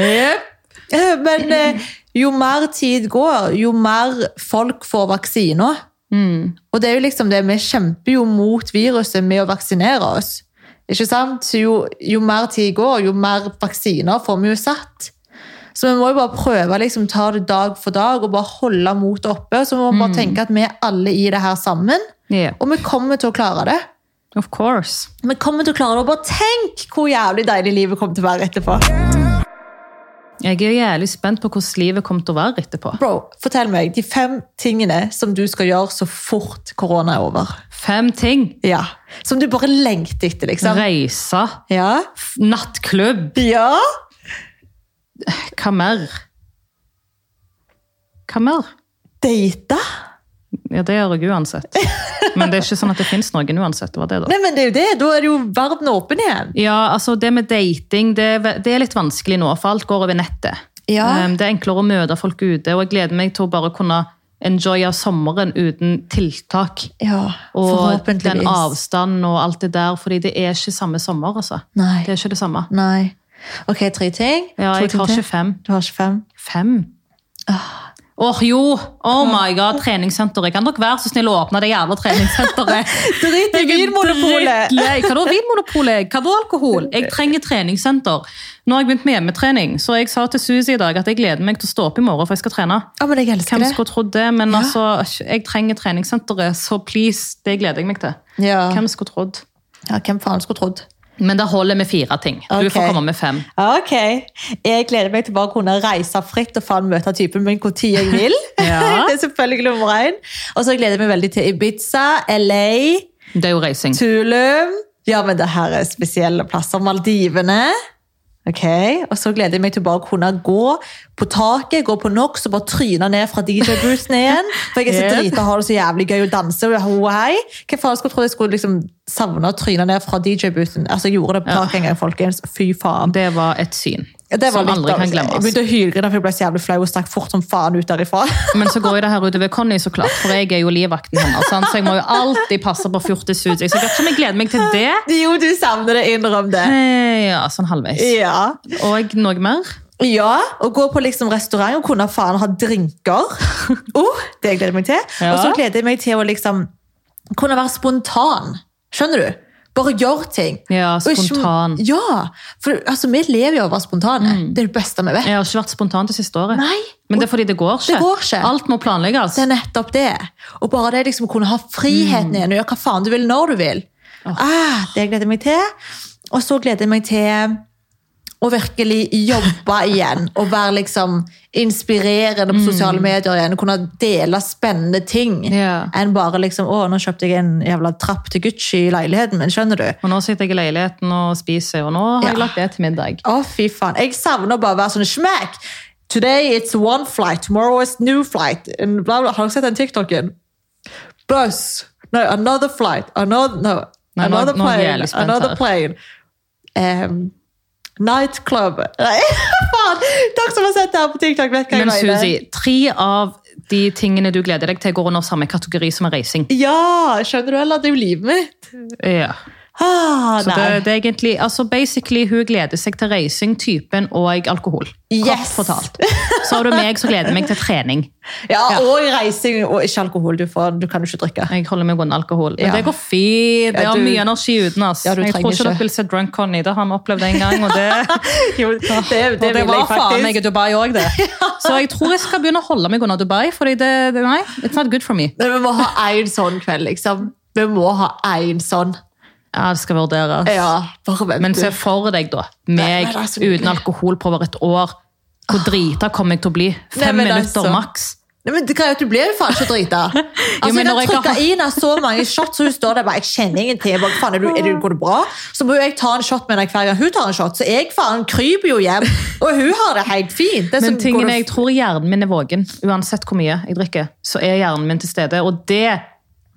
Eh, Men eh, jo mer tid går, jo mer folk får vaksiner. Og det er jo liksom det, vi kjemper jo mot viruset med å vaksinere oss. Ikke sant? Så jo, jo mer tid går, jo mer vaksiner får vi jo satt. Så vi må jo bare prøve å liksom, ta det dag for dag og bare holde motet oppe. Så vi må bare tenke at vi er alle i det her sammen, Yeah, og vi kommer til å klare det. of course. Vi kommer til å klare det, og bare tenk hvor jævlig deilig livet kommer til å være etterpå. Jeg er jævlig spent på hvordan livet kommer til å være etterpå. Bro, fortell meg de fem tingene som du skal gjøre så fort korona er over. Fem ting. Ja. Som du bare lengter etter, liksom. Reise. Ja. f- Nattklubb. Ja. Hva mer? Hva mer? Date? Ja, det gjør jeg uansett. Men det er ikke sånn at det fins noen uansett. det var det da. Nei, men det er jo det. Da er det jo verden åpen igjen. Ja, altså det med dating, det, er ve- det er litt vanskelig nå, for alt går over nettet. Ja. Um, Det er enklere å møte folk ute, og jeg gleder meg til å bare kunne enjoye sommeren uten tiltak. Ja, Og den forhåpentligvis. avstanden og alt det der, fordi det er ikke samme sommer, altså. Nei. Det er ikke det samme. Nei. Ok, tre ting. Ja, To jeg ting har til. 25. Du har 25. Fem? Ah. Åh, jo! Oh my god, treningssenteret. Kan dere være så snill å åpne det jævla treningssenteret? Drit i Vinmonopolet! Eh. Drittlei. Hva da vinmonopolet? Hva da alkohol? Jeg trenger treningssenter. Nå har jeg begynt med hjemmetrening, så jeg sa til Susi i dag at jeg gleder meg til å stå opp i morgen, for jeg skal trene. Ja, men jeg elsker Hvem det. skulle trodd det? Men Ja. altså, jeg trenger treningssenteret, så please, det gleder jeg meg til. Ja. Hvem skulle trodd? ja, hvem faen skulle trodd? Men det holder med fire ting. Du Ok. får komme med fem. Ok, jeg gleder meg til bare å kunne reise fritt og faen møte typen min hvor tid jeg vil. Ja. det er selvfølgelig nummer én. Og så gleder jeg meg veldig til Ibiza, LA, Det er jo reising. Tulum. Ja, men det her er spesielle plasser. Maldivene. Ok, Og så gleder jeg meg til bare å kunne gå på taket, gå på NOX og bare tryne ned fra DJ-boothen igjen. For jeg er så Yep. drita og har det så jævlig gøy å danse. og ho, hei. Hva faen skulle jeg tro jeg skulle liksom savne å tryne ned fra DJ-boothen? Altså, jeg gjorde det på taket en gang, folkens. Fy faen. Det var et syn Ja, Det var som litt aldri av- kan Jeg glemmes. begynte å hylgrine, for jeg ble så jævlig flau og stakk fort som faen ut derifra. Men så går jo det her utover Conny, så klart, for jeg er jo livvakten hennes. sant? Så jeg må jo alltid passe på fjortisuit. Så jeg vet ikke om jeg gleder meg til det. Jo, du savner det, innrøm det. Eh, Ja, sånn halvveis. Ja. Og noe mer? ja, Å gå på liksom restaurant og kunne faen ha drinker. Oh, det gleder jeg meg til. Ja. Og så gleder jeg meg til å liksom kunne være spontan. Skjønner du? Bare gjøre ting. Ja, Og ikke- spontan. Mm. Ja, for altså, vi lever jo av å være spontane. Det er det beste vi vet. Jeg har ikke vært spontan det siste året. Nei. Men det er fordi det går ikke. Det går ikke. Alt må planlegges. Det er nettopp det. Og bare det liksom å kunne ha friheten igjen og gjøre hva faen du vil når du vil. Ah, det gleder jeg meg til. Og så gleder jeg meg til å virkelig jobbe igjen. Og være liksom inspirerende på sosiale medier igjen. Kunne dele spennende ting. Ja. Enn bare liksom Å, nå kjøpte jeg en jævla trapp til Gucci i leiligheten min. Skjønner du? Og nå sitter jeg i leiligheten og spiser, og nå har jeg Ja. lagt det til middag. Å, fy faen. Jeg savner bare å være sånn smekk. Today it's one flight, tomorrow it's new flight. And bla bla. Har dere sett den TikToken? Bus. No, another flight. Another, no, Nei, nå- another nå er jeg plane. jævlig spent Another her. plane. Um, nightclub. Nei, faen. Dere som har sett det her på TikTok, vet hva jeg Men mener. Susi, tre av de tingene du gleder deg til, går under samme kategori som er reising. Ja, skjønner du? Eller det er jo livet mitt. Ja. Ah, Så nei. det, det er egentlig, altså basically, hun gleder seg til reising, typen og alkohol. Kort Yes. fortalt. Så har du meg som gleder meg til trening. Ja, og reising og ikke alkohol. Du, får, du kan jo ikke drikke. Jeg holder meg unna alkohol. Men Ja. det går fint. Jeg Ja, har du- mye energi uten oss. Ja, du jeg tror trenger ikke ikke. dere vil se Drunk Conny. Det har vi opplevd en gang, og det Jo, det, det, Det, og det vil var jeg faen faktisk. meg i Dubai òg, det. Så jeg tror jeg skal begynne å holde meg unna Dubai. fordi det, det, nei, it's not good for me. Men vi må ha én sånn kveld, liksom. Vi må ha én sånn. Ja, det skal vurderes. Ja, bare vent. Men du. se for deg, da. Nei, Meg men det er så nydelig. uten alkohol på over et år. Hvor drita kommer jeg til å bli? Fem men minutter altså. maks. Nei, men det greier jo at Du blir jo faen ikke drita. Altså, men jeg når kan jeg trykke har- Ina så mange shots, og hun står der bare, jeg kjenner ingenting. Jeg Bare, faen, er du, er du, går det bra? Så må jo jeg ta en shot med henne hver gang hun tar en shot. Så jeg faen kryper jo hjem, og hun har det helt fint. Det er Men som- går tingen det- er, jeg tror hjernen min er våken. Uansett hvor mye jeg drikker, så er hjernen min til stede. Og det er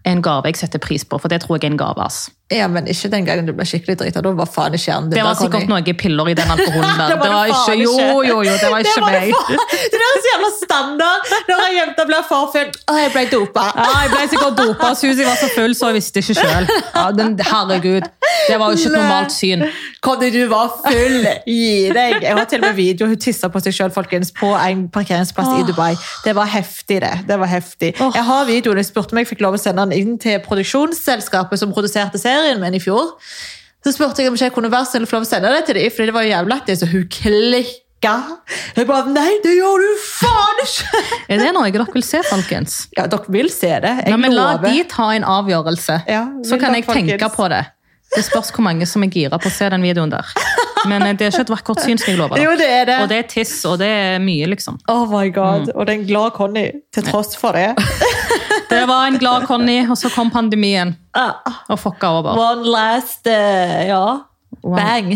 en gave jeg setter pris på, for det tror jeg er en gave. ass. Ja, men ikke den gangen du ble skikkelig drita. Da var faen ikke hjernen din Det var der, Conny. sikkert noe piller i den alkoholen der. Det var Det var det ikke, faen jo, ikke. jo, jo, det var Det ikke var det meg. faen- Det der er så jævla standard når ei jente blir forfulgt. Å, jeg ble dopa. Ja, jeg ble sikkert dopa. Susi var så full, så jeg visste ikke sjøl. Ja, den- herregud. Det var jo ikke et normalt syn. Conny, du var full. Gi deg. Jeg har til og med video hun tissa på seg sjøl folkens, på en parkeringsplass i Dubai. Det var heftig, det. det var heftig. Åh. Jeg har videoen. Jeg spurte om jeg fikk lov å sende den inn til produksjonsselskapet som produserte serien min i fjor. Så spurte jeg om ikke jeg kunne være så snill å få lov å sende det til dem, fordi det var jo jævla lættis, så hun klikka. Jeg bare Nei, det gjør du faen ikke! Er det noe dere vil se, folkens? Ja, dere vil se det. Jeg Nei, men la lover. de ta en avgjørelse, Ja, så vil kan dere, jeg tenke folkens? på det. Det spørs hvor mange som er gira på å se den videoen der. Men eh, det er ikke et vakkert syn, skal jeg love. Jo, deg. det er det. Og det er tiss, og det er mye, liksom. Oh my god. Og det er en glad Conny, til tross for det. Det var en glad Conny, og så kom pandemien Ah, og fucka over. One last eh, Ja. Wow. Bang.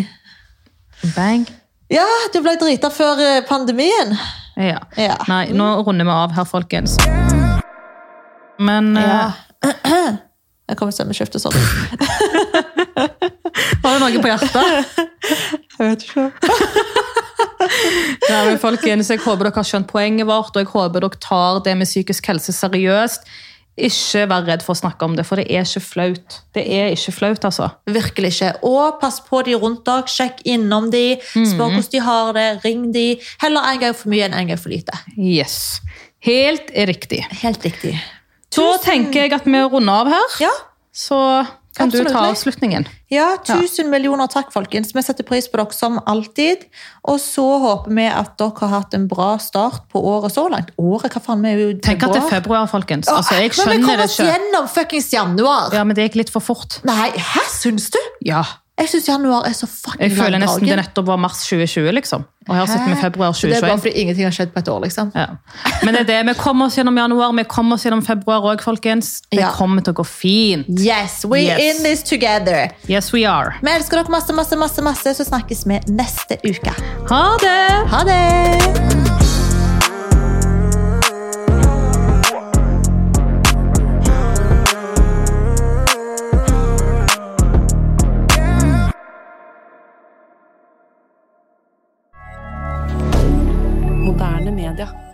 Bang. Ja, du ble drita før eh, pandemien. Ja. Ja. Nei, nå runder vi av her, folkens. Men eh, Ja. Jeg kommer til å stemmeskifte sånn. var det noe på hjertet? Jeg vet ikke. Nei, men folkens, Jeg håper dere har skjønt poenget vårt, og jeg håper dere tar det med psykisk helse seriøst. Ikke vær redd for å snakke om det, for det er ikke flaut. Det er ikke flaut, altså. Virkelig ikke. Og pass på de rundt dere, sjekk innom de, spør hvordan de har det, ring de. Heller en gang for mye enn en gang for lite. Yes. Helt riktig. Helt riktig. Så tenker jeg at vi runder av her. Ja, Så kan du ta Absolutt. avslutningen. ja tusen millioner takk, folkens. Vi setter pris på dere som alltid. Og så håper vi at dere har hatt en bra start på året så langt. Året, hva faen, vi er jo i Tenk at det er februar. februar, folkens. Altså, Men jeg vi skjønner kommer det oss ikke. gjennom fuckings januar! Ja, men det gikk litt for fort. Nei, hæ, syns du? Ja. Jeg syns januar er så fucking Jeg føler nesten det langdragen. nettopp var mars 2020, liksom. Og her sitter vi i Hæ? februar Så Det er bare 2021. fordi ingenting har skjedd på et år, liksom. Ja. Men det er det. Vi kommer oss gjennom januar, vi kommer oss gjennom februar òg, folkens. Det Ja. kommer til å gå fint. Yes, we're Yes. in this together. Yes, we are. Vi elsker dere masse, masse, masse, masse, så snakkes vi neste uke. Ha det! Ha det! Moderne media.